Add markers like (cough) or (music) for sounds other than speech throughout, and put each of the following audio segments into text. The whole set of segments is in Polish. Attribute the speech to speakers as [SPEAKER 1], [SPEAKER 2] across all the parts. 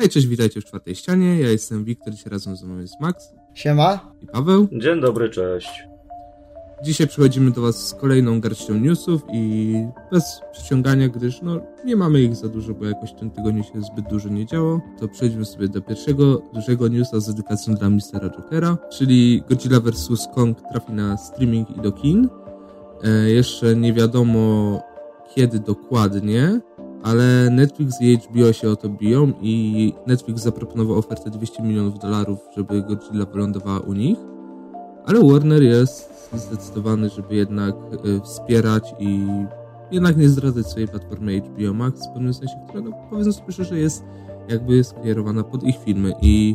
[SPEAKER 1] Hej, cześć, witajcie w czwartej ścianie. Ja jestem Wiktor, dzisiaj razem ze mną jest Max
[SPEAKER 2] Siema.
[SPEAKER 1] i Paweł.
[SPEAKER 3] Dzień dobry, cześć.
[SPEAKER 1] Dzisiaj przychodzimy do Was z kolejną garścią newsów i bez przyciągania, gdyż no, nie mamy ich za dużo, bo jakoś w tym tygodniu się zbyt dużo nie działo, to przejdźmy sobie do pierwszego dużego newsa z dedykacją dla Mistera Jokera, czyli Godzilla vs. Kong trafi na streaming i do kin. E, jeszcze nie wiadomo kiedy dokładnie, ale Netflix i HBO się o to biją i Netflix zaproponował ofertę 200 milionów dolarów, żeby Godzilla wylądowała u nich ale Warner jest zdecydowany, żeby jednak y, wspierać i jednak nie zdradzać swojej platformy HBO Max w pewnym sensie, która no, powiedzmy sobie szczerze jest jakby skierowana pod ich filmy i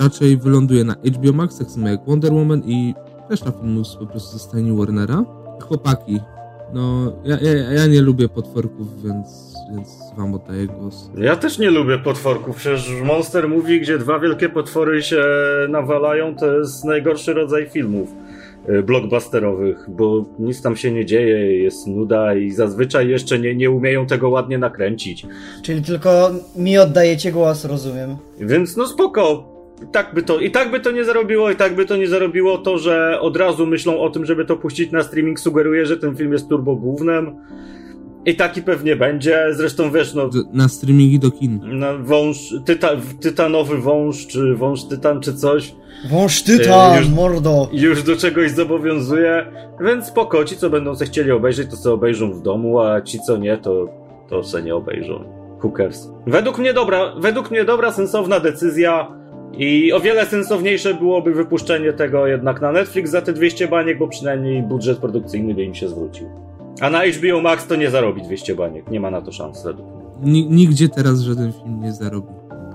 [SPEAKER 1] raczej wyląduje na HBO Max, tak samo jak Wonder Woman i reszta filmów po prostu zostanie Warnera. Chłopaki, no ja, ja, ja nie lubię potworków, więc, więc wam oddaję głos.
[SPEAKER 3] Ja też nie lubię potworków, przecież Monster mówi, gdzie dwa wielkie potwory się nawalają, to jest najgorszy rodzaj filmów e, blockbusterowych, bo nic tam się nie dzieje, jest nuda i zazwyczaj jeszcze nie, nie umieją tego ładnie nakręcić.
[SPEAKER 2] Czyli tylko mi oddajecie głos, rozumiem.
[SPEAKER 3] Więc no spoko. I tak, by to, I tak by to nie zarobiło, i tak by to nie zarobiło. To, że od razu myślą o tym, żeby to puścić na streaming, sugeruje, że ten film jest turbo głównym. I taki pewnie będzie. Zresztą wiesz, no.
[SPEAKER 1] D- Na streamingi do kin.
[SPEAKER 3] Na wąż, tyta, tytanowy wąż, czy wąż tytan, czy coś,
[SPEAKER 2] Wąż tytan,
[SPEAKER 3] E, już-
[SPEAKER 2] mordo.
[SPEAKER 3] już do czegoś zobowiązuje, więc spoko, ci co będą se chcieli obejrzeć, to se obejrzą w domu, a ci co nie, to, to se nie obejrzą. Hookers. Według mnie dobra, według mnie dobra, sensowna decyzja i o wiele sensowniejsze byłoby wypuszczenie tego jednak na Netflix za te 200 baniek, bo przynajmniej budżet produkcyjny by im się zwrócił. A na HBO Max to nie zarobi 200 baniek, nie ma na to szans według mnie.
[SPEAKER 1] Ni- nigdzie teraz żaden film nie zarobi.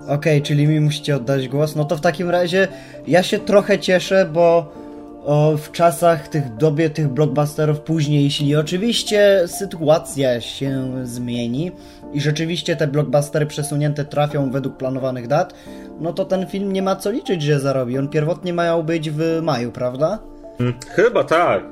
[SPEAKER 2] Okej, czyli mi musicie oddać głos. No to w takim razie ja się trochę cieszę, bo o, w czasach tych dobie tych blockbusterów później, jeśli oczywiście sytuacja się zmieni i rzeczywiście te blockbustery przesunięte trafią według planowanych dat, no to ten film nie ma co liczyć, że zarobi. On pierwotnie miał być w maju, prawda?
[SPEAKER 3] Hmm, Chyba tak.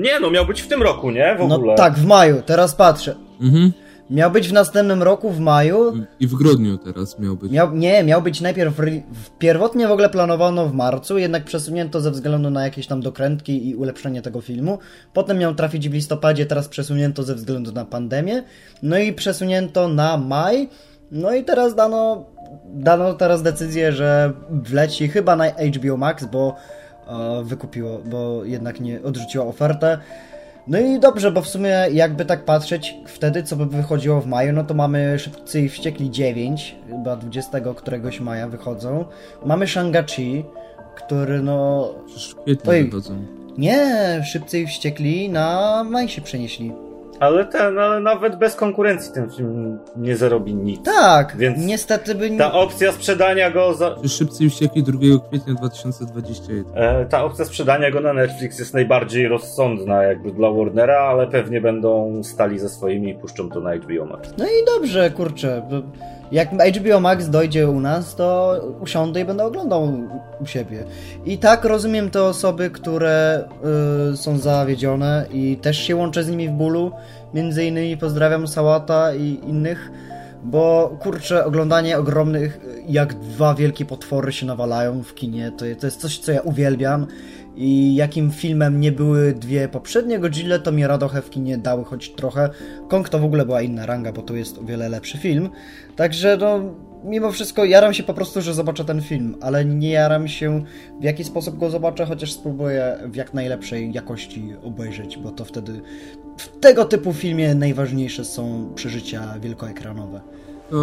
[SPEAKER 3] Nie no, miał być w tym roku, nie? W ogóle.
[SPEAKER 2] No tak, w maju. Teraz patrzę.
[SPEAKER 1] Mhm.
[SPEAKER 2] Miał być w następnym roku, w maju.
[SPEAKER 1] I w grudniu teraz miał być.
[SPEAKER 2] Miał, nie, miał być najpierw. re- w- Pierwotnie w ogóle planowano w marcu, jednak przesunięto ze względu na jakieś tam dokrętki i ulepszenie tego filmu. Potem miał trafić w listopadzie, teraz przesunięto ze względu na pandemię. No i przesunięto na maj. No i teraz dano, dano teraz decyzję, że wleci chyba na HBO Max, bo e, wykupiło, bo jednak nie odrzuciła ofertę. No i dobrze, bo w sumie jakby tak patrzeć wtedy, co by wychodziło w maju, no to mamy Szybcy i Wściekli 9, chyba 20 któregoś maja wychodzą. Mamy Shang-Chi, który no...
[SPEAKER 1] Przecież w kwietniu
[SPEAKER 2] Oj.
[SPEAKER 1] wychodzą.
[SPEAKER 2] Nie, Szybcy i Wściekli na maj się przenieśli.
[SPEAKER 3] Ale ten, ale nawet bez konkurencji ten film nie zarobi nic.
[SPEAKER 2] Tak,
[SPEAKER 3] Więc
[SPEAKER 2] niestety by... nie-
[SPEAKER 3] Ta opcja sprzedania go za...
[SPEAKER 1] Przecież Szybcy i Wściekli 2 kwietnia 2021.
[SPEAKER 3] e, Ta opcja sprzedania go na Netflix jest najbardziej rozsądna jakby dla Warnera, ale pewnie będą stali ze swoimi i puszczą to na HBO Max.
[SPEAKER 2] No i dobrze, kurczę. bo Jak HBO Max dojdzie u nas, to usiądę i będę oglądał u siebie. I tak rozumiem te osoby, które y, są zawiedzione i też się łączę z nimi w bólu. Między innymi pozdrawiam Sałata i innych, bo kurczę, oglądanie ogromnych, y, jak dwa wielkie potwory się nawalają w kinie, to, to jest coś, co ja uwielbiam. I jakim filmem nie były dwie poprzednie Godzilla, to mi radochę w kinie dały choć trochę. Kong to w ogóle była inna ranga, bo to jest o wiele lepszy film. Także no, mimo wszystko jaram się po prostu, że zobaczę ten film, ale nie jaram się w jaki sposób go zobaczę, chociaż spróbuję w jak najlepszej jakości obejrzeć, bo to wtedy w tego typu filmie najważniejsze są przeżycia wielkoekranowe.
[SPEAKER 1] To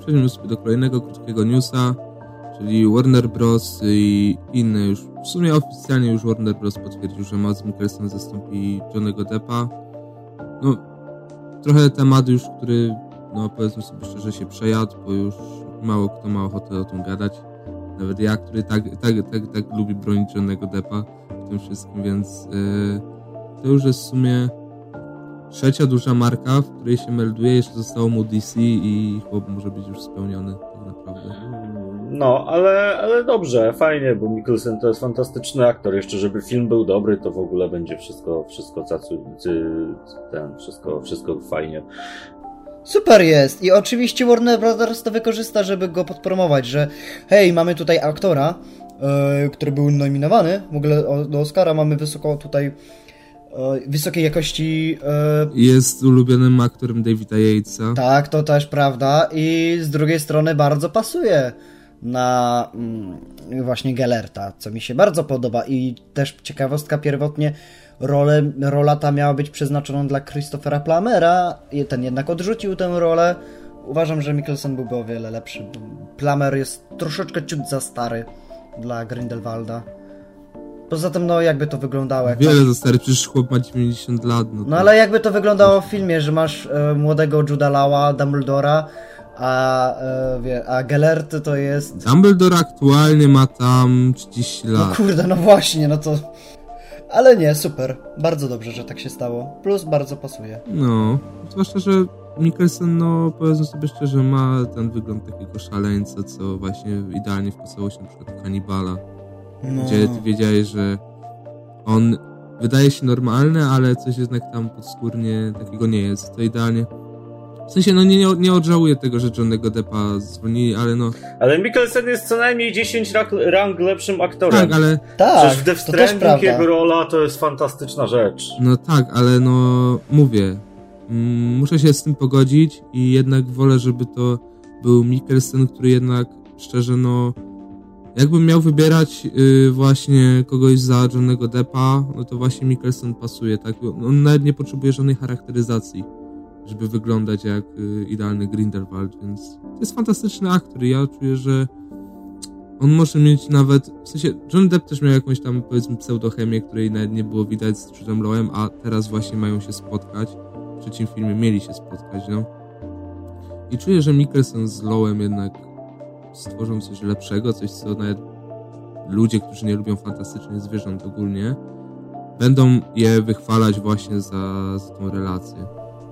[SPEAKER 1] przejdźmy sobie do kolejnego krótkiego newsa, czyli Warner Bros. i inne już, w sumie oficjalnie już Warner Bros. potwierdził, że Mads Mikkelsen zastąpi Johnny'ego Deppa. No, trochę temat już, który, no powiedzmy sobie szczerze, się przejadł, bo już mało kto ma ochotę o tym gadać. Nawet ja, który tak, tak, tak, tak lubi bronić Johnny'ego Deppa w tym wszystkim, więc yy, to już jest w sumie trzecia duża marka, w której się melduje, jeszcze zostało mu DC i chłop może być już spełniony tak naprawdę.
[SPEAKER 3] No, ale, ale dobrze, fajnie, bo Mikkelsen to jest fantastyczny aktor. Jeszcze żeby film był dobry, to w ogóle będzie wszystko, wszystko cacu, cy, ten, wszystko, wszystko fajnie.
[SPEAKER 2] Super jest! I oczywiście Warner Brothers to wykorzysta, żeby go podpromować, że hej, mamy tutaj aktora, e, który był nominowany, w ogóle o- do Oscara mamy wysoko tutaj e, wysokiej jakości e,
[SPEAKER 1] Jest ulubionym aktorem Davida Yatesa.
[SPEAKER 2] tak, to też prawda. I z drugiej strony bardzo pasuje na mm, właśnie Gellerta, co mi się bardzo podoba. I też ciekawostka pierwotnie, rolę, rola ta miała być przeznaczona dla Christophera Plamera, i ten jednak odrzucił tę rolę. Uważam, że Mikkelsen byłby o wiele lepszy. Plamer jest troszeczkę ciut za stary dla Grindelwalda. Poza tym, no jakby to wyglądało. Jak
[SPEAKER 1] Wiele za stary, przecież chłop ma 90 lat. No,
[SPEAKER 2] no
[SPEAKER 1] to-
[SPEAKER 2] ale jakby to wyglądało w filmie, że masz e, młodego Juda Lawa, Dumbledora, a, e, wie, a Gellert to jest...
[SPEAKER 1] Dumbledore aktualnie ma tam 30
[SPEAKER 2] No
[SPEAKER 1] lat.
[SPEAKER 2] kurde, no właśnie, no to... Ale nie, super. Bardzo dobrze, że tak się stało. Plus bardzo pasuje.
[SPEAKER 1] No, zwłaszcza, że Mikkelsen, no powiedzmy sobie szczerze, ma ten wygląd takiego szaleńca, co właśnie idealnie wpasowało się na przykład w Kanibala,
[SPEAKER 2] No.
[SPEAKER 1] gdzie ty wiedziałeś, że on wydaje się normalny, ale coś jednak tam podskórnie takiego nie jest. To idealnie. W sensie, no nie, nie, nie odżałuję tego, że Johnnego Deppa zwolnili, ale no
[SPEAKER 3] Ale Mikkelsen jest co najmniej 10 rak- rang lepszym aktorem.
[SPEAKER 1] tak, ale
[SPEAKER 2] Tak,
[SPEAKER 3] Przecież w Death
[SPEAKER 2] to też
[SPEAKER 3] Stranding
[SPEAKER 2] prawda.
[SPEAKER 3] jego rola to jest fantastyczna rzecz.
[SPEAKER 1] No tak, ale no mówię, mm, muszę się z tym pogodzić i jednak wolę, żeby to był Mikkelsen, który jednak szczerze no jakbym miał wybierać y, właśnie kogoś za Johnnego Deppa, no to właśnie Mikkelsen pasuje, tak? On nawet nie potrzebuje żadnej charakteryzacji, żeby wyglądać jak y, idealny Grindelwald, więc to jest fantastyczny aktor i ja czuję, że on może mieć nawet, w sensie John Depp też miał jakąś tam powiedzmy pseudochemię, której nawet nie było widać z Jude'em Lowem, a teraz właśnie mają się spotkać. W trzecim filmie mieli się spotkać, no. I czuję, że Mikkelsen z Lowem jednak stworzą coś lepszego, coś co nawet ludzie, którzy nie lubią fantastycznych zwierząt ogólnie, będą je wychwalać właśnie za, za tą relację.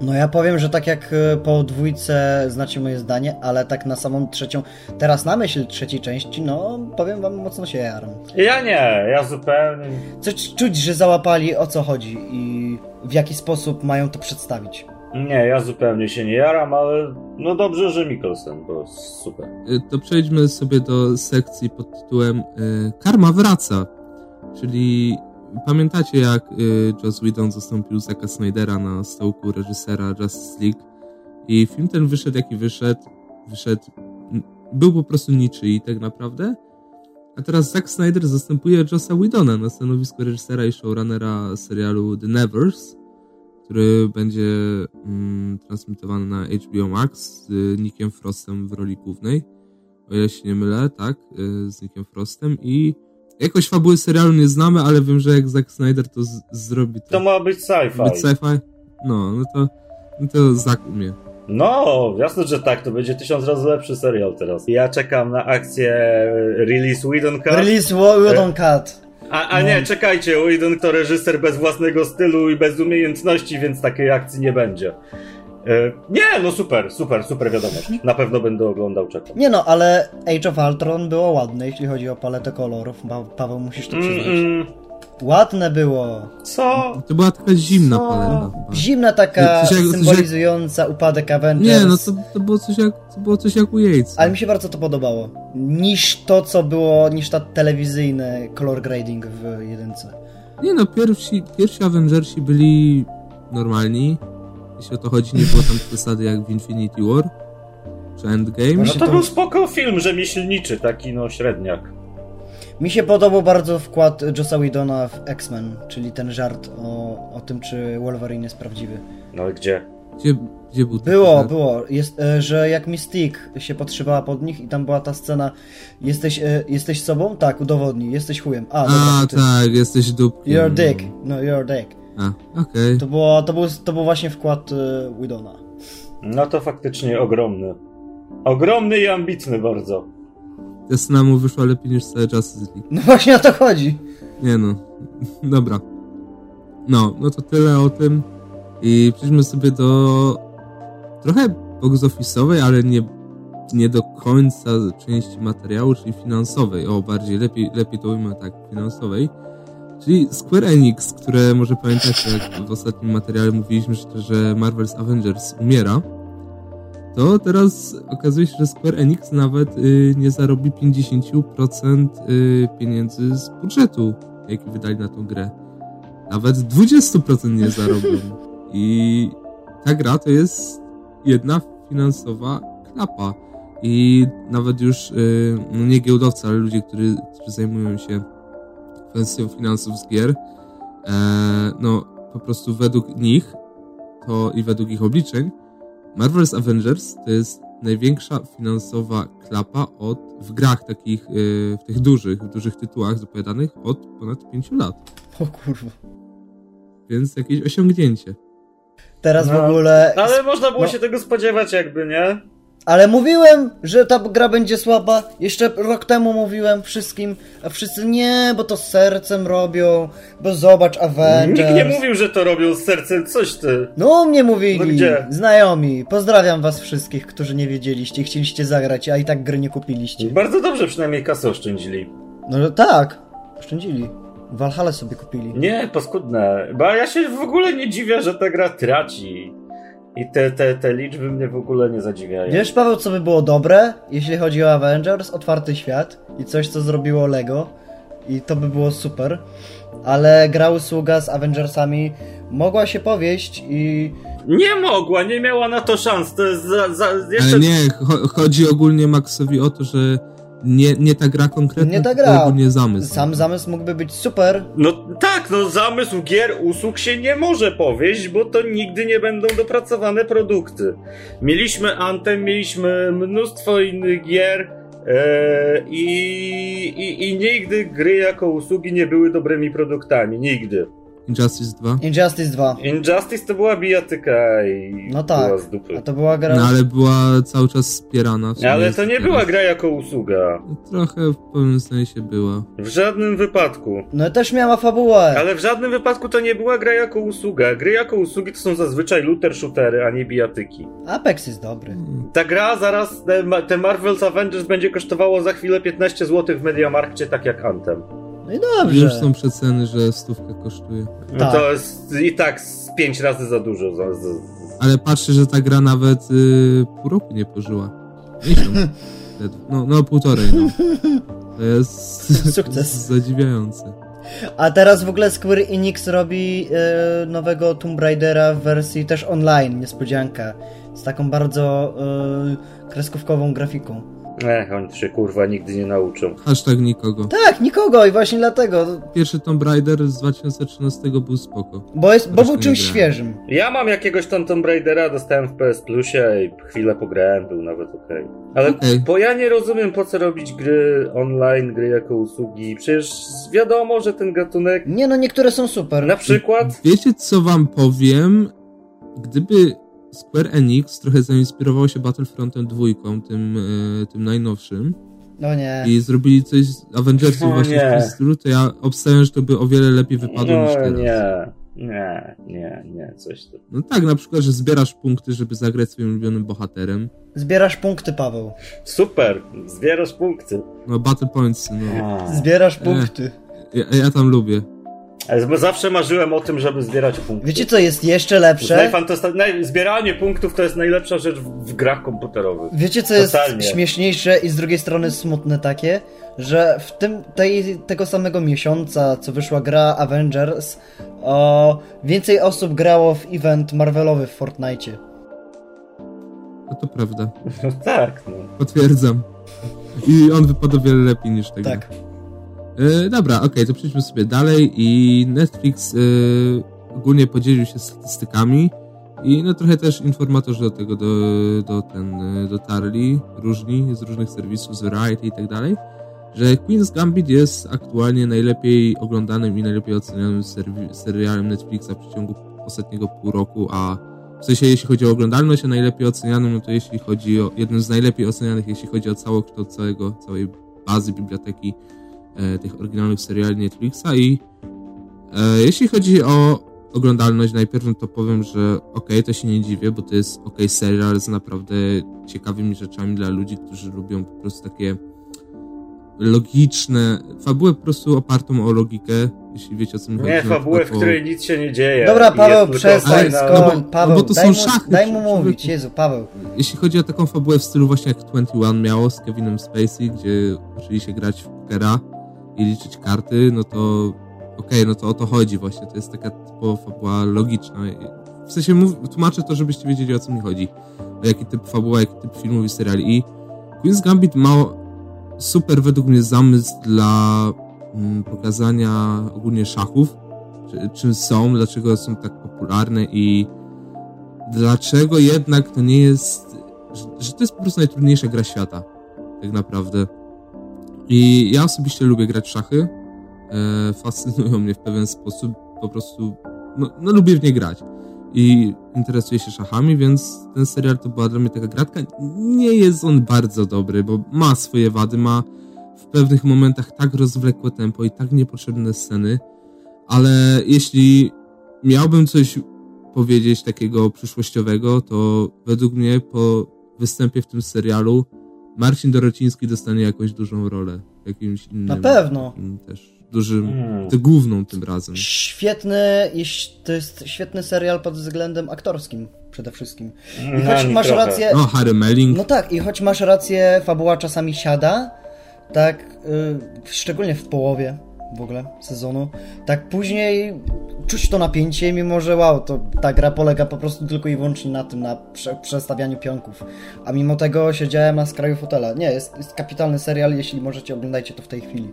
[SPEAKER 2] No ja powiem, że tak jak e, po dwójce znacie moje zdanie, ale tak na samą trzecią, teraz na myśl trzeciej części, no powiem wam mocno się jaram.
[SPEAKER 3] Ja nie, ja zupełnie.
[SPEAKER 2] Coś czuć, że załapali o co chodzi i w jaki sposób mają to przedstawić.
[SPEAKER 3] Nie, ja zupełnie się nie jaram, ale no dobrze, że Mikkelsen, bo super.
[SPEAKER 1] Y, to przejdźmy sobie do sekcji pod tytułem y, Karma wraca. Czyli pamiętacie jak y, Joss Whedon zastąpił Zacka Snydera na stołku reżysera Justice League i film ten wyszedł jaki wyszedł, wyszedł, m, był po prostu niczyj tak naprawdę. A teraz Zack Snyder zastępuje Jossa Whedona na stanowisku reżysera i showrunnera serialu The Nevers, który będzie mm, transmitowany na HBO Max z y, Nickiem Frostem w roli głównej. O ile się nie mylę, tak, y, z Nickiem Frostem i jakoś fabuły serialu nie znamy, ale wiem, że jak Zack Snyder to z- zrobi,
[SPEAKER 3] To ma być
[SPEAKER 1] być
[SPEAKER 3] sci-fi.
[SPEAKER 1] sci-fi. No, no to, no to Zack umie.
[SPEAKER 3] No, jasne, że tak, to będzie tysiąc razy lepszy serial teraz. Ja czekam na akcję Release Whedonka.
[SPEAKER 2] Release
[SPEAKER 3] E.
[SPEAKER 2] Whedon Cut.
[SPEAKER 3] A, a nie, czekajcie, Whedon to reżyser bez własnego stylu i bez umiejętności, więc takiej akcji nie będzie. E, Nie, no super, super, super wiadomość. Na pewno będę oglądał, czekam.
[SPEAKER 2] Nie no, ale Age of Ultron było ładne, jeśli chodzi o paletę kolorów. Pa Paweł, musisz to
[SPEAKER 3] Mm,
[SPEAKER 2] przyznać.
[SPEAKER 3] mm,
[SPEAKER 2] Ładne było.
[SPEAKER 3] co?
[SPEAKER 1] To była taka zimna
[SPEAKER 3] Co?
[SPEAKER 1] paleta. chyba.
[SPEAKER 2] Zimna taka,
[SPEAKER 1] No, coś jak- coś jak-
[SPEAKER 2] symbolizująca upadek Avengers.
[SPEAKER 1] Nie, no to, to było coś jak, to było coś jak u Yates.
[SPEAKER 2] Ale mi się bardzo to podobało. Niż to, co było, niż ta telewizyjny color grading w jedynce.
[SPEAKER 1] Nie no, pierwsi, pierwsi Avengersi byli normalni. Jeśli o to chodzi, nie było tam przesady jak w Infinity War czy Endgame.
[SPEAKER 3] No
[SPEAKER 2] Właśnie
[SPEAKER 3] to
[SPEAKER 2] to-
[SPEAKER 3] był spoko film rzemieślniczy, taki no średniak.
[SPEAKER 2] Mi się podobał bardzo wkład Jossa Whedona w X-Men, czyli ten żart o, o tym, czy Wolverine jest prawdziwy.
[SPEAKER 3] No i gdzie?
[SPEAKER 1] Gdzie, gdzie był ten
[SPEAKER 2] Było,
[SPEAKER 3] Tak.
[SPEAKER 1] teatr?
[SPEAKER 2] było. Jest, e, że jak Mystique się podszywała pod nich i tam była ta scena Jesteś, e, jesteś sobą? Tak, udowodnij. Jesteś chujem. A,
[SPEAKER 1] A,
[SPEAKER 2] dobra, to ty.
[SPEAKER 1] tak, jesteś dupkiem.
[SPEAKER 2] You're dick. No, you're dick.
[SPEAKER 1] A, okej.
[SPEAKER 2] To, było, to, był, to był właśnie wkład e, Widona.
[SPEAKER 3] No to faktycznie ogromny. Ogromny i ambitny bardzo.
[SPEAKER 1] Ta scena mu wyszła lepiej niż całe Justice League.
[SPEAKER 2] No właśnie o to chodzi.
[SPEAKER 1] Nie no, (laughs) dobra. No, no to tyle o tym. I przejdźmy sobie do trochę box office'owej, ale nie, nie do końca części materiału, czyli finansowej. O, bardziej, lepiej, lepiej to ujmę tak, finansowej. Czyli Square Enix, które może pamiętacie, jak w ostatnim materiale mówiliśmy, że, że Marvel's Avengers umiera. to teraz okazuje się, że Square Enix nawet y, nie zarobi 50% y, pieniędzy z budżetu, jaki wydali na tą grę. Nawet 20% nie zarobią. I ta gra to jest jedna finansowa klapa. I nawet już, y, no nie giełdowcy, ale ludzie, którzy, którzy zajmują się kwestią finansów z gier, e, no po prostu według nich to i według ich obliczeń Marvel's Avengers to jest największa finansowa klapa od, w grach takich, y, w tych dużych, w dużych tytułach zapowiadanych od ponad 5 lat.
[SPEAKER 2] O kurwa.
[SPEAKER 1] Więc jakieś osiągnięcie.
[SPEAKER 2] Teraz
[SPEAKER 3] No,
[SPEAKER 2] w ogóle...
[SPEAKER 3] Ale można było
[SPEAKER 2] no.
[SPEAKER 3] się tego spodziewać jakby, nie?
[SPEAKER 2] Ale mówiłem, że ta gra będzie słaba. Jeszcze rok temu mówiłem wszystkim, a wszyscy nie, bo to z sercem robią, bo zobacz Avengers.
[SPEAKER 3] Nikt nie mówił, że to robią z sercem, coś ty.
[SPEAKER 2] No, mnie mówili,
[SPEAKER 3] No gdzie?
[SPEAKER 2] znajomi. Pozdrawiam was wszystkich, którzy nie wiedzieliście, chcieliście zagrać, a i tak gry nie kupiliście.
[SPEAKER 3] Bardzo dobrze przynajmniej kasę oszczędzili.
[SPEAKER 2] No że tak, oszczędzili. Valhalla sobie kupili.
[SPEAKER 3] Nie, paskudne. Bo ja się w ogóle nie dziwię, że ta gra traci. I te, te, te liczby mnie w ogóle nie zadziwiają.
[SPEAKER 2] Wiesz, Paweł, co by było dobre, jeśli chodzi o Avengers, otwarty świat i coś, co zrobiło Lego, i to by było super, ale gra usługa z Avengersami mogła się powieść i
[SPEAKER 3] Nie mogła, nie miała na to szans. To jest za, za, jeszcze...
[SPEAKER 1] Ale nie, cho- chodzi ogólnie Maxowi o to, że nie, nie ta gra konkretna,
[SPEAKER 2] Nie ta
[SPEAKER 1] tylko
[SPEAKER 2] gra.
[SPEAKER 1] ogólnie zamysł.
[SPEAKER 2] sam zamysł mógłby być super.
[SPEAKER 3] No tak, no zamysł gier usług się nie może powieść, bo to nigdy nie będą dopracowane produkty. Mieliśmy Anthem, mieliśmy mnóstwo innych gier e, i, i, i nigdy gry jako usługi nie były dobrymi produktami. Nigdy.
[SPEAKER 1] Injustice 2.
[SPEAKER 2] Injustice 2.
[SPEAKER 3] Injustice to była bijatyka i
[SPEAKER 2] No tak.
[SPEAKER 3] była z dupy.
[SPEAKER 2] A to była gra.
[SPEAKER 1] No ale była cały czas wspierana. w sumie
[SPEAKER 3] Ale
[SPEAKER 1] jest
[SPEAKER 3] to nie
[SPEAKER 1] teraz.
[SPEAKER 3] była gra jako usługa.
[SPEAKER 1] Trochę w pewnym sensie była.
[SPEAKER 3] W żadnym wypadku.
[SPEAKER 2] No też miała fabułę.
[SPEAKER 3] Ale w żadnym wypadku to nie była gra jako usługa. Gry jako usługi to są zazwyczaj looter shootery, a nie bijatyki.
[SPEAKER 2] Apex jest dobry.
[SPEAKER 3] Ta gra zaraz, te, ma- te Marvel's Avengers będzie kosztowało za chwilę 15 zł w Mediamarkcie, tak jak Anthem.
[SPEAKER 2] No i
[SPEAKER 1] Już
[SPEAKER 2] dobrze.
[SPEAKER 1] są przeceny, że stówkę kosztuje.
[SPEAKER 3] No
[SPEAKER 2] Tak.
[SPEAKER 3] to jest i tak z 5 razy za dużo. Za, za, za.
[SPEAKER 1] Ale patrzę, że ta gra nawet y, pół roku nie pożyła. Miesiąc. Ledwo. No, no półtorej, no. To jest
[SPEAKER 2] Sukces.
[SPEAKER 1] zadziwiające.
[SPEAKER 2] A teraz w ogóle Square Enix robi e, nowego Tomb Raidera w wersji też online, niespodzianka. Z taką bardzo e, kreskówkową grafiką.
[SPEAKER 3] Ech, oni się kurwa nigdy nie nauczą.
[SPEAKER 1] Hashtag nikogo.
[SPEAKER 2] Tak, nikogo i właśnie dlatego,
[SPEAKER 1] Pierwszy Tomb Raider z 2013 był spoko.
[SPEAKER 2] bo, jest, bo
[SPEAKER 1] Zresztą
[SPEAKER 2] był
[SPEAKER 1] nie
[SPEAKER 2] czymś
[SPEAKER 1] grałem.
[SPEAKER 2] świeżym.
[SPEAKER 3] Ja mam jakiegoś tam Tomb Raidera, dostałem w PS Plusie i chwilę pograłem, był nawet okej. Ale
[SPEAKER 1] Okej.
[SPEAKER 3] bo ja nie rozumiem po co robić gry online, gry jako usługi. Przecież wiadomo, że ten gatunek
[SPEAKER 2] Nie no, niektóre są super.
[SPEAKER 3] na przykład...
[SPEAKER 1] Wiecie, co wam powiem? Gdyby Square Enix trochę zainspirował się Battlefrontem dwójką, tym, y, tym najnowszym,
[SPEAKER 2] No nie.
[SPEAKER 1] i zrobili coś z Avengersów
[SPEAKER 3] O
[SPEAKER 1] właśnie
[SPEAKER 3] (laughs) nie.
[SPEAKER 1] w tym stylu, to ja obstawiam, że to by o wiele lepiej wypadło niż
[SPEAKER 3] No
[SPEAKER 1] teraz.
[SPEAKER 3] nie, nie, nie, nie, coś tu.
[SPEAKER 1] No tak, na przykład, że zbierasz punkty, żeby zagrać swoim ulubionym bohaterem.
[SPEAKER 2] Zbierasz punkty, Paweł.
[SPEAKER 3] Super, zbierasz punkty.
[SPEAKER 1] No, Battle Points, no.
[SPEAKER 2] Zbierasz
[SPEAKER 1] Ech.
[SPEAKER 2] punkty.
[SPEAKER 1] Ja, ja tam lubię.
[SPEAKER 3] Ale z- Zawsze marzyłem o tym, żeby zbierać punkty.
[SPEAKER 2] Wiecie co jest jeszcze
[SPEAKER 3] To jest
[SPEAKER 2] lepsze?
[SPEAKER 3] najfantasta- naj... Zbieranie punktów to jest najlepsza rzecz w, w grach komputerowych.
[SPEAKER 2] Wiecie co jest
[SPEAKER 3] Totalnie.
[SPEAKER 2] śmieszniejsze i z drugiej strony smutne takie? Że w tym tej, tego samego miesiąca, co wyszła gra Avengers, o, więcej osób grało w event Marvelowy w Fortnite.
[SPEAKER 1] No to prawda.
[SPEAKER 3] No tak, no.
[SPEAKER 1] Potwierdzam. I on wypadł o wiele lepiej niż tego.
[SPEAKER 2] Tak.
[SPEAKER 1] E, dobra, okej, to przejdźmy sobie dalej i Netflix e, ogólnie podzielił się statystykami i no trochę też informatorzy do tego do, do ten, e, dotarli, różni z różnych serwisów, z Variety i tak dalej, że Queen's Gambit jest aktualnie najlepiej oglądanym i najlepiej ocenianym serwi- serialem Netflixa w przeciągu ostatniego pół roku, a w sensie jeśli chodzi o oglądalność, a najlepiej ocenianym, no to jeśli chodzi o jednym z najlepiej ocenianych, jeśli chodzi o całokształt całego, całej bazy biblioteki e, tych oryginalnych seriali Netflixa i e, jeśli chodzi o oglądalność najpierw, no to powiem, że okej, to się nie dziwię, bo to jest okej serial z naprawdę ciekawymi rzeczami dla ludzi, którzy lubią po prostu takie logiczne, fabułę po prostu opartą o logikę, jeśli wiecie o co mi chodzi.
[SPEAKER 3] Nie,
[SPEAKER 1] na
[SPEAKER 3] fabułę, w
[SPEAKER 1] przykład o-
[SPEAKER 3] której nic się nie dzieje.
[SPEAKER 2] Dobra,
[SPEAKER 3] I
[SPEAKER 2] Paweł,
[SPEAKER 3] jest tylko tak
[SPEAKER 2] przestań,
[SPEAKER 3] fajna-
[SPEAKER 1] No bo-
[SPEAKER 2] skoń,
[SPEAKER 1] no
[SPEAKER 2] Paweł,
[SPEAKER 1] bo to
[SPEAKER 2] daj,
[SPEAKER 1] są
[SPEAKER 2] mu,
[SPEAKER 1] szachy,
[SPEAKER 2] daj mu
[SPEAKER 1] człowieku.
[SPEAKER 2] mówić, Jezu, Paweł.
[SPEAKER 1] Jeśli chodzi o taką fabułę w stylu właśnie jak 21 miało z Kevinem Spacey, gdzie uczyli się grać w pokera i liczyć karty, no to okej, no to o to chodzi właśnie. To jest taka typowa fabuła logiczna. W sensie mów, tłumaczę to, żebyście wiedzieli o co mi chodzi. O jaki typ fabuła, jaki typ filmów i seriali. I Queen's Gambit ma super według mnie zamysł dla mm, pokazania ogólnie szachów, czy, czym są, dlaczego są tak popularne i dlaczego jednak to nie jest, że, że to jest po prostu najtrudniejsza gra świata, tak naprawdę. I ja osobiście lubię grać w szachy, e, fascynują mnie w pewien sposób, po prostu, no, no lubię w nie grać. I interesuję się szachami, więc ten serial to była dla mnie taka gratka. Nie jest on bardzo dobry, bo ma swoje wady, ma w pewnych momentach tak rozwlekłe tempo i tak niepotrzebne sceny, ale jeśli miałbym coś powiedzieć takiego przyszłościowego, to według mnie po występie w tym serialu Marcin Dorociński dostanie jakąś dużą rolę w jakimś innym.
[SPEAKER 2] Na pewno.
[SPEAKER 1] takim Mm, Też dużym,
[SPEAKER 3] Mm.
[SPEAKER 1] to główną tym razem.
[SPEAKER 2] Świetny, jeś- to jest świetny serial pod względem aktorskim przede wszystkim. I
[SPEAKER 3] Na
[SPEAKER 1] Mhm,
[SPEAKER 2] choć
[SPEAKER 3] nim
[SPEAKER 2] masz
[SPEAKER 3] trochę.
[SPEAKER 2] rację,
[SPEAKER 1] O, Harry Melling.
[SPEAKER 2] no tak, i choć masz rację, fabuła czasami siada, tak, y, szczególnie w połowie w ogóle sezonu, tak później czuć to napięcie, mimo że wow, to ta gra polega po prostu tylko i wyłącznie na tym, na prze, przestawianiu pionków. A mimo tego siedziałem na skraju fotela. Nie, jest, jest kapitalny serial, jeśli możecie, oglądajcie to w tej chwili.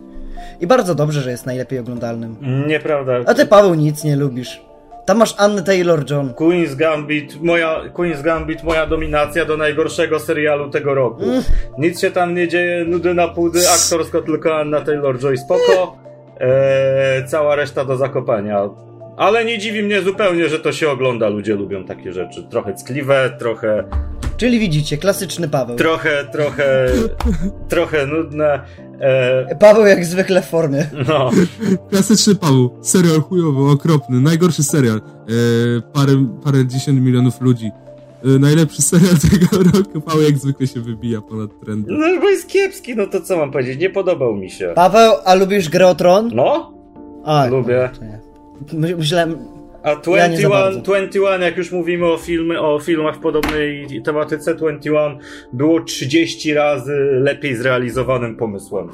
[SPEAKER 2] I bardzo dobrze, że jest najlepiej oglądalnym.
[SPEAKER 3] Nieprawda.
[SPEAKER 2] A ty, Paweł, nic nie lubisz. Tam masz Annę Taylor-John.
[SPEAKER 3] Queen's Gambit, moja, Queen's Gambit, moja dominacja do najgorszego serialu tego roku.
[SPEAKER 2] Mm.
[SPEAKER 3] Nic się tam nie dzieje, nudy na pudy, aktorsko tylko Anna Taylor-Joy spoko, eee, cała reszta do zakopania. Ale nie dziwi mnie zupełnie, że to się ogląda, ludzie lubią takie rzeczy. Trochę ckliwe, trochę,
[SPEAKER 2] Czyli widzicie, klasyczny Paweł.
[SPEAKER 3] trochę, trochę, trochę nudne. Eee,
[SPEAKER 2] Paweł jak zwykle w formie.
[SPEAKER 3] no,
[SPEAKER 1] Klasyczny Paweł. Serial chujowy, okropny. Najgorszy serial. Eee, parę, parę dziesięć milionów ludzi. Eee, najlepszy serial (laughs) tego roku. Paweł jak zwykle się wybija ponad trendy.
[SPEAKER 3] no bo jest kiepski, no to co mam powiedzieć, nie podobał mi się.
[SPEAKER 2] Paweł, a lubisz grę o tron?
[SPEAKER 3] No,
[SPEAKER 2] A,
[SPEAKER 3] lubię.
[SPEAKER 2] to nie. My, myślałem,
[SPEAKER 3] A
[SPEAKER 2] Ja nie za
[SPEAKER 3] 21,
[SPEAKER 2] bardzo.
[SPEAKER 3] 21 jak już mówimy o, filmy, o filmach w podobnej tematyce, 21 było 30 razy lepiej zrealizowanym pomysłem.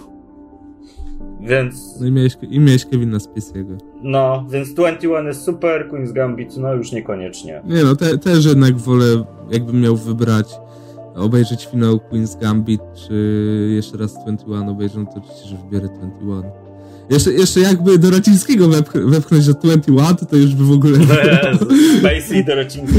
[SPEAKER 3] Więc,
[SPEAKER 1] No i miałeś, i miałeś Kevina Spacey'ego.
[SPEAKER 3] no, więc 21 jest super, Queen's Gambit, no
[SPEAKER 1] (laughs)
[SPEAKER 3] już niekoniecznie.
[SPEAKER 1] Nie no, te, też jednak wolę, jakbym miał wybrać, obejrzeć finał Queen's Gambit, czy jeszcze raz 21 obejrzę, to oczywiście, że wybiorę 21. Jeszcze, jeszcze jakby do Racińskiego wepch- wepchnąć do 21, to, to już by w ogóle...
[SPEAKER 3] No Spacey i Dorocinki.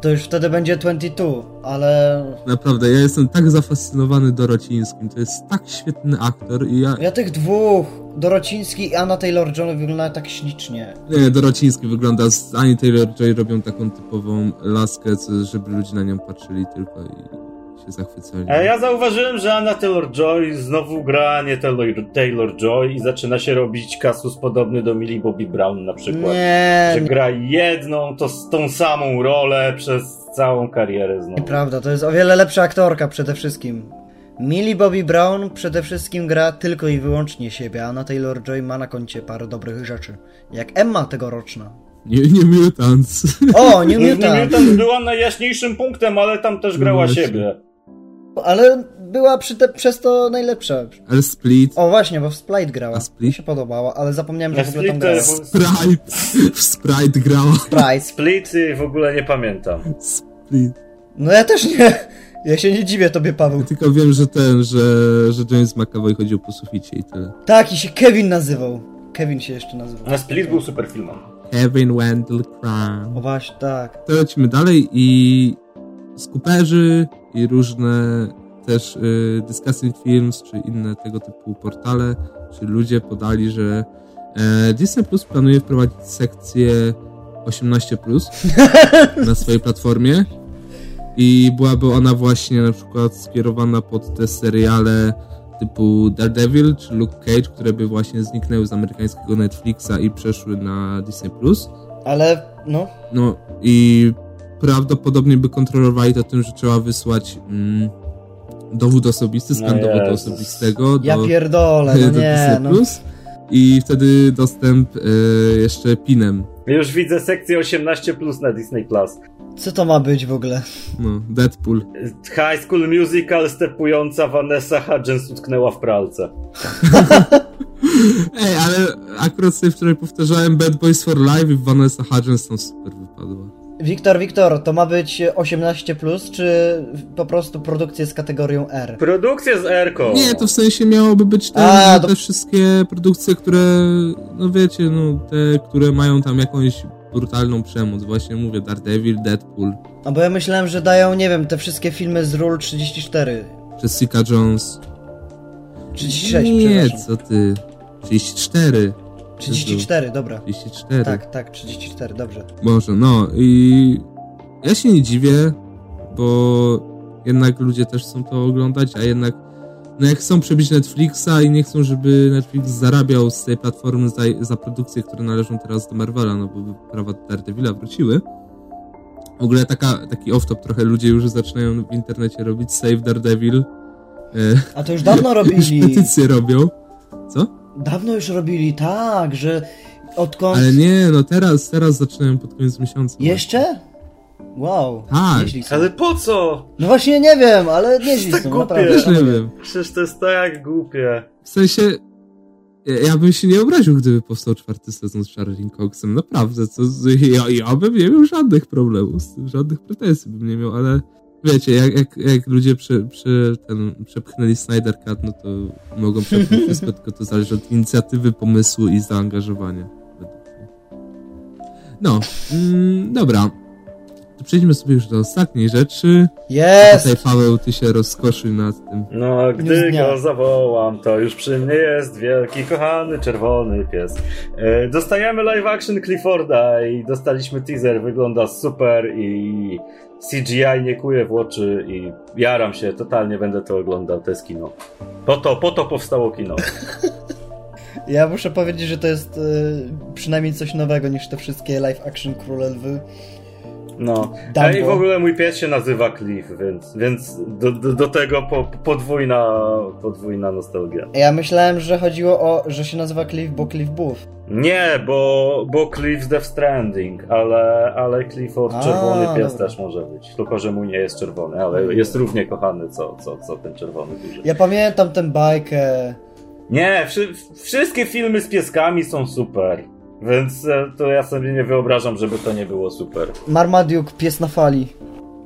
[SPEAKER 2] to już wtedy będzie 22, ale...
[SPEAKER 1] (laughs) Naprawdę, ja jestem tak zafascynowany Dorocińskim. To jest tak świetny aktor i ja...
[SPEAKER 2] Ja tych dwóch, Dorociński i Anna Taylor-John wyglądają tak ślicznie.
[SPEAKER 1] Nie, Dorociński wygląda z Ani Taylor-Joy robią taką typową laskę, co, żeby ludzie na nią patrzyli tylko i się zachwycali.
[SPEAKER 3] A E, ja zauważyłem, że Anna Taylor-Joy znowu gra nie Taylor- Taylor-Joy i zaczyna się robić kasus podobny do Millie Bobby Brown na przykład.
[SPEAKER 2] Nie,
[SPEAKER 3] Że gra jedną, to z tą samą rolę przez całą karierę znowu.
[SPEAKER 2] nieprawda, to jest o wiele lepsza aktorka przede wszystkim. Millie Bobby Brown przede wszystkim gra tylko i wyłącznie siebie, a Anna Taylor-Joy ma na koncie parę dobrych rzeczy. Jak Emma tegoroczna.
[SPEAKER 1] Nie, nie mutants.
[SPEAKER 2] O, New
[SPEAKER 3] (laughs) New
[SPEAKER 1] tak.
[SPEAKER 2] Mutant!
[SPEAKER 3] Mutant No była najjaśniejszym punktem, ale tam też grała
[SPEAKER 1] Właśnie.
[SPEAKER 3] siebie.
[SPEAKER 2] Ale była przy te, przez to najlepsza.
[SPEAKER 1] (laughs) Ale Split.
[SPEAKER 2] O właśnie, bo w Splite grała.
[SPEAKER 1] A Split?
[SPEAKER 2] Mi się podobała, ale zapomniałem, że
[SPEAKER 3] Na
[SPEAKER 2] w ogóle tam
[SPEAKER 3] Split,
[SPEAKER 2] grała.
[SPEAKER 1] Sprite. W Sprite grała.
[SPEAKER 2] Price.
[SPEAKER 3] Split y, w ogóle nie pamiętam.
[SPEAKER 1] Split.
[SPEAKER 2] No ja też nie. Ja się nie dziwię tobie, Paweł.
[SPEAKER 1] Ja tylko wiem, że ten, że, że James McAvoy chodził po suficie i tyle.
[SPEAKER 2] Tak, i się Kevin nazywał. Kevin się jeszcze nazywał.
[SPEAKER 3] Na Split był super filmem.
[SPEAKER 1] Kevin Wendell Crumb.
[SPEAKER 2] O właśnie, tak.
[SPEAKER 1] to lecimy dalej i skuperzy i różne też y, discussing films czy inne tego typu portale czy ludzie podali, że e, Disney Plus planuje wprowadzić sekcję 18 plus na swojej platformie i byłaby ona właśnie na przykład skierowana pod te seriale typu Daredevil czy Luke Cage, które by właśnie zniknęły z amerykańskiego Netflixa i przeszły na Disney Plus.
[SPEAKER 2] Ale, no,
[SPEAKER 1] No i prawdopodobnie by kontrolowali to tym, że trzeba wysłać mm, dowód osobisty, skan
[SPEAKER 3] No
[SPEAKER 1] dowodu
[SPEAKER 3] Jezus.
[SPEAKER 1] osobistego do,
[SPEAKER 2] Ja
[SPEAKER 1] (laughs)
[SPEAKER 2] pierdolę, no
[SPEAKER 1] do
[SPEAKER 2] nie,
[SPEAKER 1] Disney+.
[SPEAKER 2] no.
[SPEAKER 1] I wtedy dostęp e, jeszcze pinem.
[SPEAKER 3] Już widzę sekcję 18 plus na Disney Plus.
[SPEAKER 2] Co to ma być w ogóle?
[SPEAKER 1] No, Deadpool.
[SPEAKER 3] High School Musical stepująca Vanessa Hudgens utknęła w pralce.
[SPEAKER 1] Ej, ale akurat sobie wczoraj powtarzałem Bad Boys for Life i Vanessa Hudgens tam super wypadła.
[SPEAKER 2] Wiktor, Wiktor, to ma być 18+, plus, czy po prostu produkcje z kategorią R?
[SPEAKER 3] Produkcja z Erką.
[SPEAKER 1] Nie, to w sensie miałoby być te,
[SPEAKER 2] A,
[SPEAKER 1] że
[SPEAKER 2] to-
[SPEAKER 1] te wszystkie produkcje, które, no wiecie, no te, które mają tam jakąś brutalną przemoc. Właśnie mówię, Daredevil, Deadpool,
[SPEAKER 2] No bo ja myślałem, że dają, nie wiem, te wszystkie filmy z Rule 34,
[SPEAKER 1] Jessica Jones.
[SPEAKER 2] 36,
[SPEAKER 1] Nie,
[SPEAKER 2] przepraszam.
[SPEAKER 1] co ty. 34.
[SPEAKER 2] 34, dobra.
[SPEAKER 1] 34.
[SPEAKER 2] Tak, tak, 34, dobrze.
[SPEAKER 1] Boże, no i ja się nie dziwię, bo jednak ludzie też chcą to oglądać, a jednak no jak chcą przebić Netflixa i nie chcą, żeby Netflix zarabiał z tej platformy za, za produkcje, które należą teraz do Marvela, no bo prawa do Daredevila wróciły. W ogóle taka, taki off-top trochę ludzie już zaczynają w internecie robić Save Daredevil. E, (laughs)
[SPEAKER 2] A to już dawno
[SPEAKER 1] już
[SPEAKER 2] robili.
[SPEAKER 1] petycje robią. Co?
[SPEAKER 2] Dawno już robili, tak, że odkąd...
[SPEAKER 1] Ale nie, no teraz, teraz zaczynają pod koniec miesiąca.
[SPEAKER 2] Jeszcze? Wow.
[SPEAKER 1] Tak.
[SPEAKER 2] nieźli są.
[SPEAKER 3] Ale po co?
[SPEAKER 2] No właśnie nie wiem, ale nieźli
[SPEAKER 3] Tak
[SPEAKER 2] są,
[SPEAKER 3] głupie.
[SPEAKER 2] naprawdę.
[SPEAKER 1] Też nie wiem.
[SPEAKER 3] Przecież to jest tak głupie.
[SPEAKER 1] W sensie, ja- ja bym się nie obraził, gdyby powstał czwarty sezon z Charlie Coxem. Naprawdę, co, z- ja, ja bym nie miał żadnych problemów, z tym, żadnych pretensji bym nie miał, ale wiecie, jak, jak, jak ludzie prze, prze, ten, przepchnęli Snyder Cut, no to mogą przepchnąć wszystko, tylko to zależy od inicjatywy, pomysłu i zaangażowania. według mnie. No, mm, dobra. To przejdźmy sobie już do ostatniej rzeczy.
[SPEAKER 2] Jest!
[SPEAKER 1] Tutaj Paweł, ty się rozkoszuj nad tym.
[SPEAKER 3] No, a
[SPEAKER 2] Już
[SPEAKER 3] gdy
[SPEAKER 2] dnia.
[SPEAKER 3] go zawołam, to już przy mnie jest wielki, kochany, czerwony pies. E, Dostajemy live action Clifforda i dostaliśmy teaser, wygląda super i CGI nie kuje w oczy i jaram się, totalnie będę to oglądał, to jest kino. Po to, po to powstało kino.
[SPEAKER 2] Ja muszę powiedzieć, że to jest y, przynajmniej coś nowego niż te wszystkie live action króle lwy. (laughs)
[SPEAKER 3] No.
[SPEAKER 2] Dumbo.
[SPEAKER 3] A i w ogóle mój pies się nazywa Cliff, więc, więc do, do, do tego po, podwójna, podwójna nostalgia.
[SPEAKER 2] Ja myślałem, że chodziło o, że się nazywa Cliff, bo Cliff Booth.
[SPEAKER 3] Nie, bo, bo Cliff z Death Stranding, ale, ale Clifford
[SPEAKER 2] A,
[SPEAKER 3] czerwony pies
[SPEAKER 2] dobra.
[SPEAKER 3] też może być. Tylko, że mój nie jest czerwony, ale jest równie kochany co, co, co ten czerwony duży.
[SPEAKER 2] Ja pamiętam tę bajkę.
[SPEAKER 3] Nie, wszy, wszystkie filmy z pieskami są super. Więc e, to ja sobie nie wyobrażam, żeby to nie było super.
[SPEAKER 2] Marmaduke, pies na fali.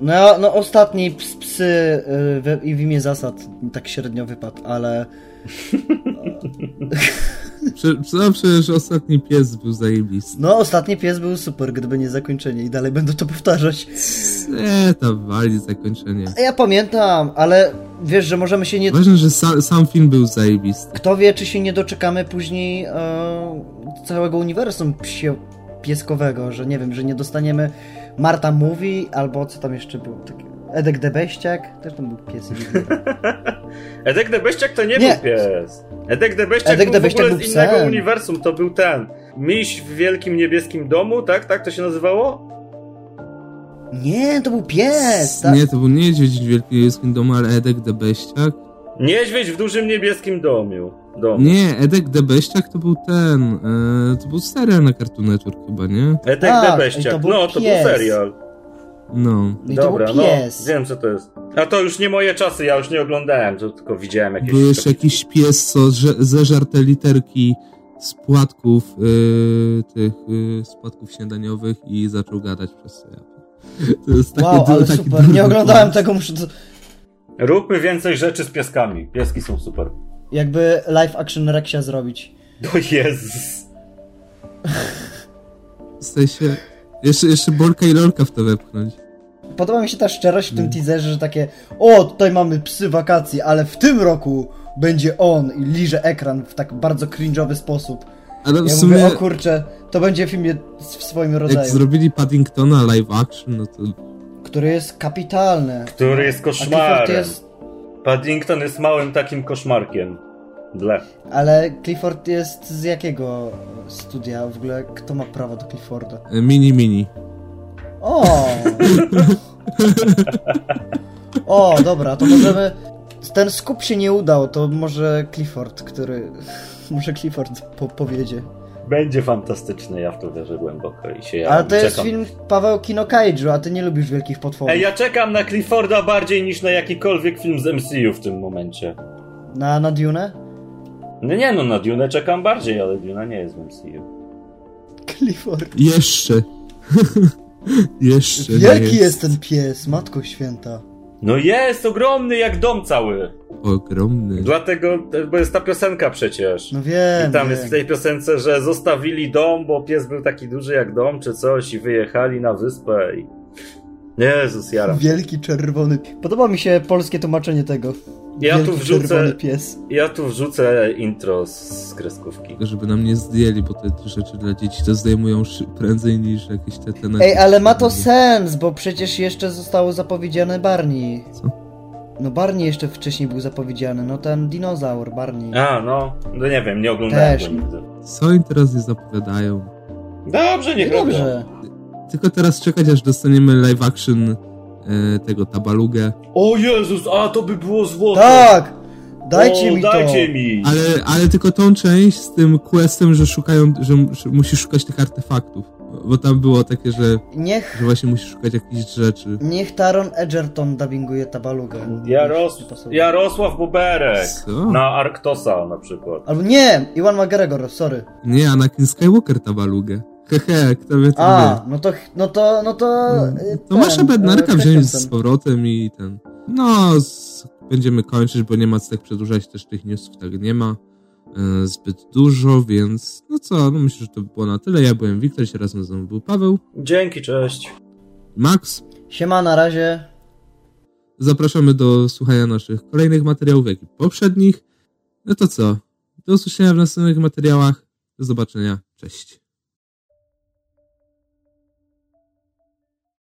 [SPEAKER 2] No, no ostatni ps, psy y, we- i w imię zasad tak średnio wypadł, ale
[SPEAKER 1] Prze, zawsze, że no, ostatni pies był zajebisty.
[SPEAKER 2] no ostatni pies był super, gdyby nie zakończenie i dalej będę to powtarzać.
[SPEAKER 1] Nie, tam wali zakończenie.
[SPEAKER 2] Ja pamiętam, ale wiesz, że możemy się nie...
[SPEAKER 1] Ważne, że sa, sam film był zajebisty.
[SPEAKER 2] Kto wie, czy się nie doczekamy później e, całego uniwersum psie, pieskowego, że nie wiem, że nie dostaniemy Marta Movie, albo co tam jeszcze było takie... Edek Debeściak, też tam był pies. i widmo.
[SPEAKER 3] Edek Debeściak to nie,
[SPEAKER 2] Nie.
[SPEAKER 3] był pies. Edek Debeściak
[SPEAKER 2] Edek
[SPEAKER 3] był
[SPEAKER 2] Debeściak
[SPEAKER 3] w ogóle
[SPEAKER 2] był
[SPEAKER 3] z innego
[SPEAKER 2] psem.
[SPEAKER 3] uniwersum, to był ten. Miś w wielkim niebieskim domu, tak? Tak to się nazywało?
[SPEAKER 2] Nie, to był pies! tak. Ta...
[SPEAKER 1] Nie, to był niedźwiedź w Wielkim Niebieskim Domu, ale Edek Debeściak.
[SPEAKER 3] Niedźwiedź w dużym niebieskim domiu. domu.
[SPEAKER 1] Nie, Edek Debeściak to był ten, e, to był serial na Cartoon Network chyba, nie?
[SPEAKER 3] Edek
[SPEAKER 2] Tak, i
[SPEAKER 3] Debeściak.
[SPEAKER 2] to był
[SPEAKER 3] no, to
[SPEAKER 2] pies.
[SPEAKER 3] był serial.
[SPEAKER 1] No.
[SPEAKER 2] I to
[SPEAKER 3] Dobra,
[SPEAKER 2] był pies.
[SPEAKER 3] no, wiem co to jest. A to już nie moje czasy, ja już nie oglądałem, to tylko widziałem jakieś...
[SPEAKER 1] Był jeszcze jakiś pies, co że, zeżarte literki z płatków, y, tych, y, z płatków śniadaniowych i zaczął gadać przez serial. (laughs) To jest taki
[SPEAKER 2] Wow,
[SPEAKER 1] du-
[SPEAKER 2] ale
[SPEAKER 1] taki
[SPEAKER 2] super,
[SPEAKER 1] durny
[SPEAKER 2] nie oglądałem
[SPEAKER 1] pomysł.
[SPEAKER 2] tego, muszę... To...
[SPEAKER 3] Róbmy więcej rzeczy z pieskami. Pieski są super.
[SPEAKER 2] Jakby live action Rexia zrobić.
[SPEAKER 3] O Jezus.
[SPEAKER 1] W sensie, jeszcze, jeszcze Borka i Lolka w to wepchnąć.
[SPEAKER 2] Podoba mi się ta szczerość w tym
[SPEAKER 1] Mm.
[SPEAKER 2] teaserze, że takie o, tutaj mamy psy wakacji, ale w tym roku będzie on i liże ekran w tak bardzo cringe'owy sposób.
[SPEAKER 1] Ale w
[SPEAKER 2] Ja
[SPEAKER 1] sumie,
[SPEAKER 2] mówię, o kurczę, to będzie w filmie s- w swoim
[SPEAKER 1] jak
[SPEAKER 2] rodzaju,
[SPEAKER 1] zrobili Paddingtona live action, no to
[SPEAKER 2] który jest kapitalny.
[SPEAKER 3] Który jest
[SPEAKER 2] A Clifford
[SPEAKER 3] koszmarem.
[SPEAKER 2] jest,
[SPEAKER 3] Paddington jest małym takim koszmarkiem. Ble.
[SPEAKER 2] ale Clifford jest z jakiego studia w ogóle? Kto ma prawo do Clifforda?
[SPEAKER 1] e, mini mini.
[SPEAKER 2] O! O, dobra, to możemy. Ten skup się nie udał, to może Clifford, który... Może Clifford po powiedzie.
[SPEAKER 3] Będzie fantastyczny, ja w to wierzę głęboko i się ja
[SPEAKER 2] Ale to
[SPEAKER 3] czekam.
[SPEAKER 2] jest film Paweł Kino Kaiju, a ty nie lubisz wielkich potworów.
[SPEAKER 3] Ej, ja czekam na Clifforda bardziej niż na jakikolwiek film z MCU w tym momencie.
[SPEAKER 2] Na, na Dune?
[SPEAKER 3] No nie no, na Dune czekam bardziej, ale Dune nie jest w MCU.
[SPEAKER 2] Clifford.
[SPEAKER 1] Jeszcze. (laughs) Jeszcze. nie
[SPEAKER 2] Wielki jest ten pies, matko święta.
[SPEAKER 3] No jest ogromny jak dom cały.
[SPEAKER 1] Ogromny.
[SPEAKER 3] Dlatego, e, bo jest ta piosenka przecież.
[SPEAKER 2] No wiem,
[SPEAKER 3] I tam
[SPEAKER 2] wiem.
[SPEAKER 3] jest w tej piosence, że zostawili dom, bo pies był taki duży jak dom czy coś i wyjechali na wyspę i... Jezus, jaram.
[SPEAKER 2] Wielki czerwony. Podoba mi się polskie tłumaczenie tego.
[SPEAKER 3] Ja tu
[SPEAKER 2] Wielki
[SPEAKER 3] wrzucę,
[SPEAKER 2] czerwony pies.
[SPEAKER 3] ja tu wrzucę intro z z kreskówki.
[SPEAKER 1] Żeby nam nie zdjęli, bo te rzeczy dla dzieci to zdejmują szy- prędzej niż jakieś te te
[SPEAKER 2] Ej, ale ma to sens, bo przecież jeszcze zostało zapowiedziane Barney.
[SPEAKER 1] Co?
[SPEAKER 2] No Barney jeszcze wcześniej był zapowiedziany, no ten dinozaur Barney.
[SPEAKER 3] A, no, no nie wiem, nie oglądałem
[SPEAKER 2] Też.
[SPEAKER 3] go nigdy.
[SPEAKER 1] Co oni teraz nie zapowiadają?
[SPEAKER 3] Dobrze,
[SPEAKER 2] Nie
[SPEAKER 3] niech robią.
[SPEAKER 2] dobrze.
[SPEAKER 1] Tylko teraz czekać, aż dostaniemy live action e, tego Tabalugę.
[SPEAKER 3] O Jezus, a to by było złoto!
[SPEAKER 2] Tak! Dajcie
[SPEAKER 3] o,
[SPEAKER 2] mi to!
[SPEAKER 3] dajcie mi!
[SPEAKER 1] Ale, ale tylko tą część z tym questem, że szukają, że, m- że musisz szukać tych artefaktów. Bo tam było takie, że,
[SPEAKER 2] Niech,
[SPEAKER 1] że właśnie musisz szukać jakichś rzeczy.
[SPEAKER 2] niech Taron Edgerton dubbinguje Tabalugę.
[SPEAKER 3] Jaros...
[SPEAKER 2] Niech pasuje.
[SPEAKER 3] Jarosław Buberek
[SPEAKER 1] Co?
[SPEAKER 3] na Arktosa na przykład.
[SPEAKER 2] Albo nie! Iwan McGregor, sorry.
[SPEAKER 1] Nie, Anakin Skywalker Tabalugę. Hehe, kto wie, to
[SPEAKER 2] A,
[SPEAKER 1] wie.
[SPEAKER 2] no to, no to, no to... y,
[SPEAKER 1] To masz
[SPEAKER 2] ten,
[SPEAKER 1] Bednarka
[SPEAKER 2] y,
[SPEAKER 1] wziąć z
[SPEAKER 2] Christensen.
[SPEAKER 1] powrotem i ten... No, z... będziemy kończyć, bo nie ma co tak przedłużać, też tych newsów tak nie ma. e, Zbyt dużo, więc no co, no myślę, że to by było na tyle. Ja byłem Wiktor, się razem ze mną był Paweł,
[SPEAKER 3] Dzięki, cześć.
[SPEAKER 1] Max.
[SPEAKER 2] Siema, na razie.
[SPEAKER 1] Zapraszamy do słuchania naszych kolejnych materiałów, jak i poprzednich. No to co? Do usłyszenia w następnych materiałach. Do zobaczenia. Cześć.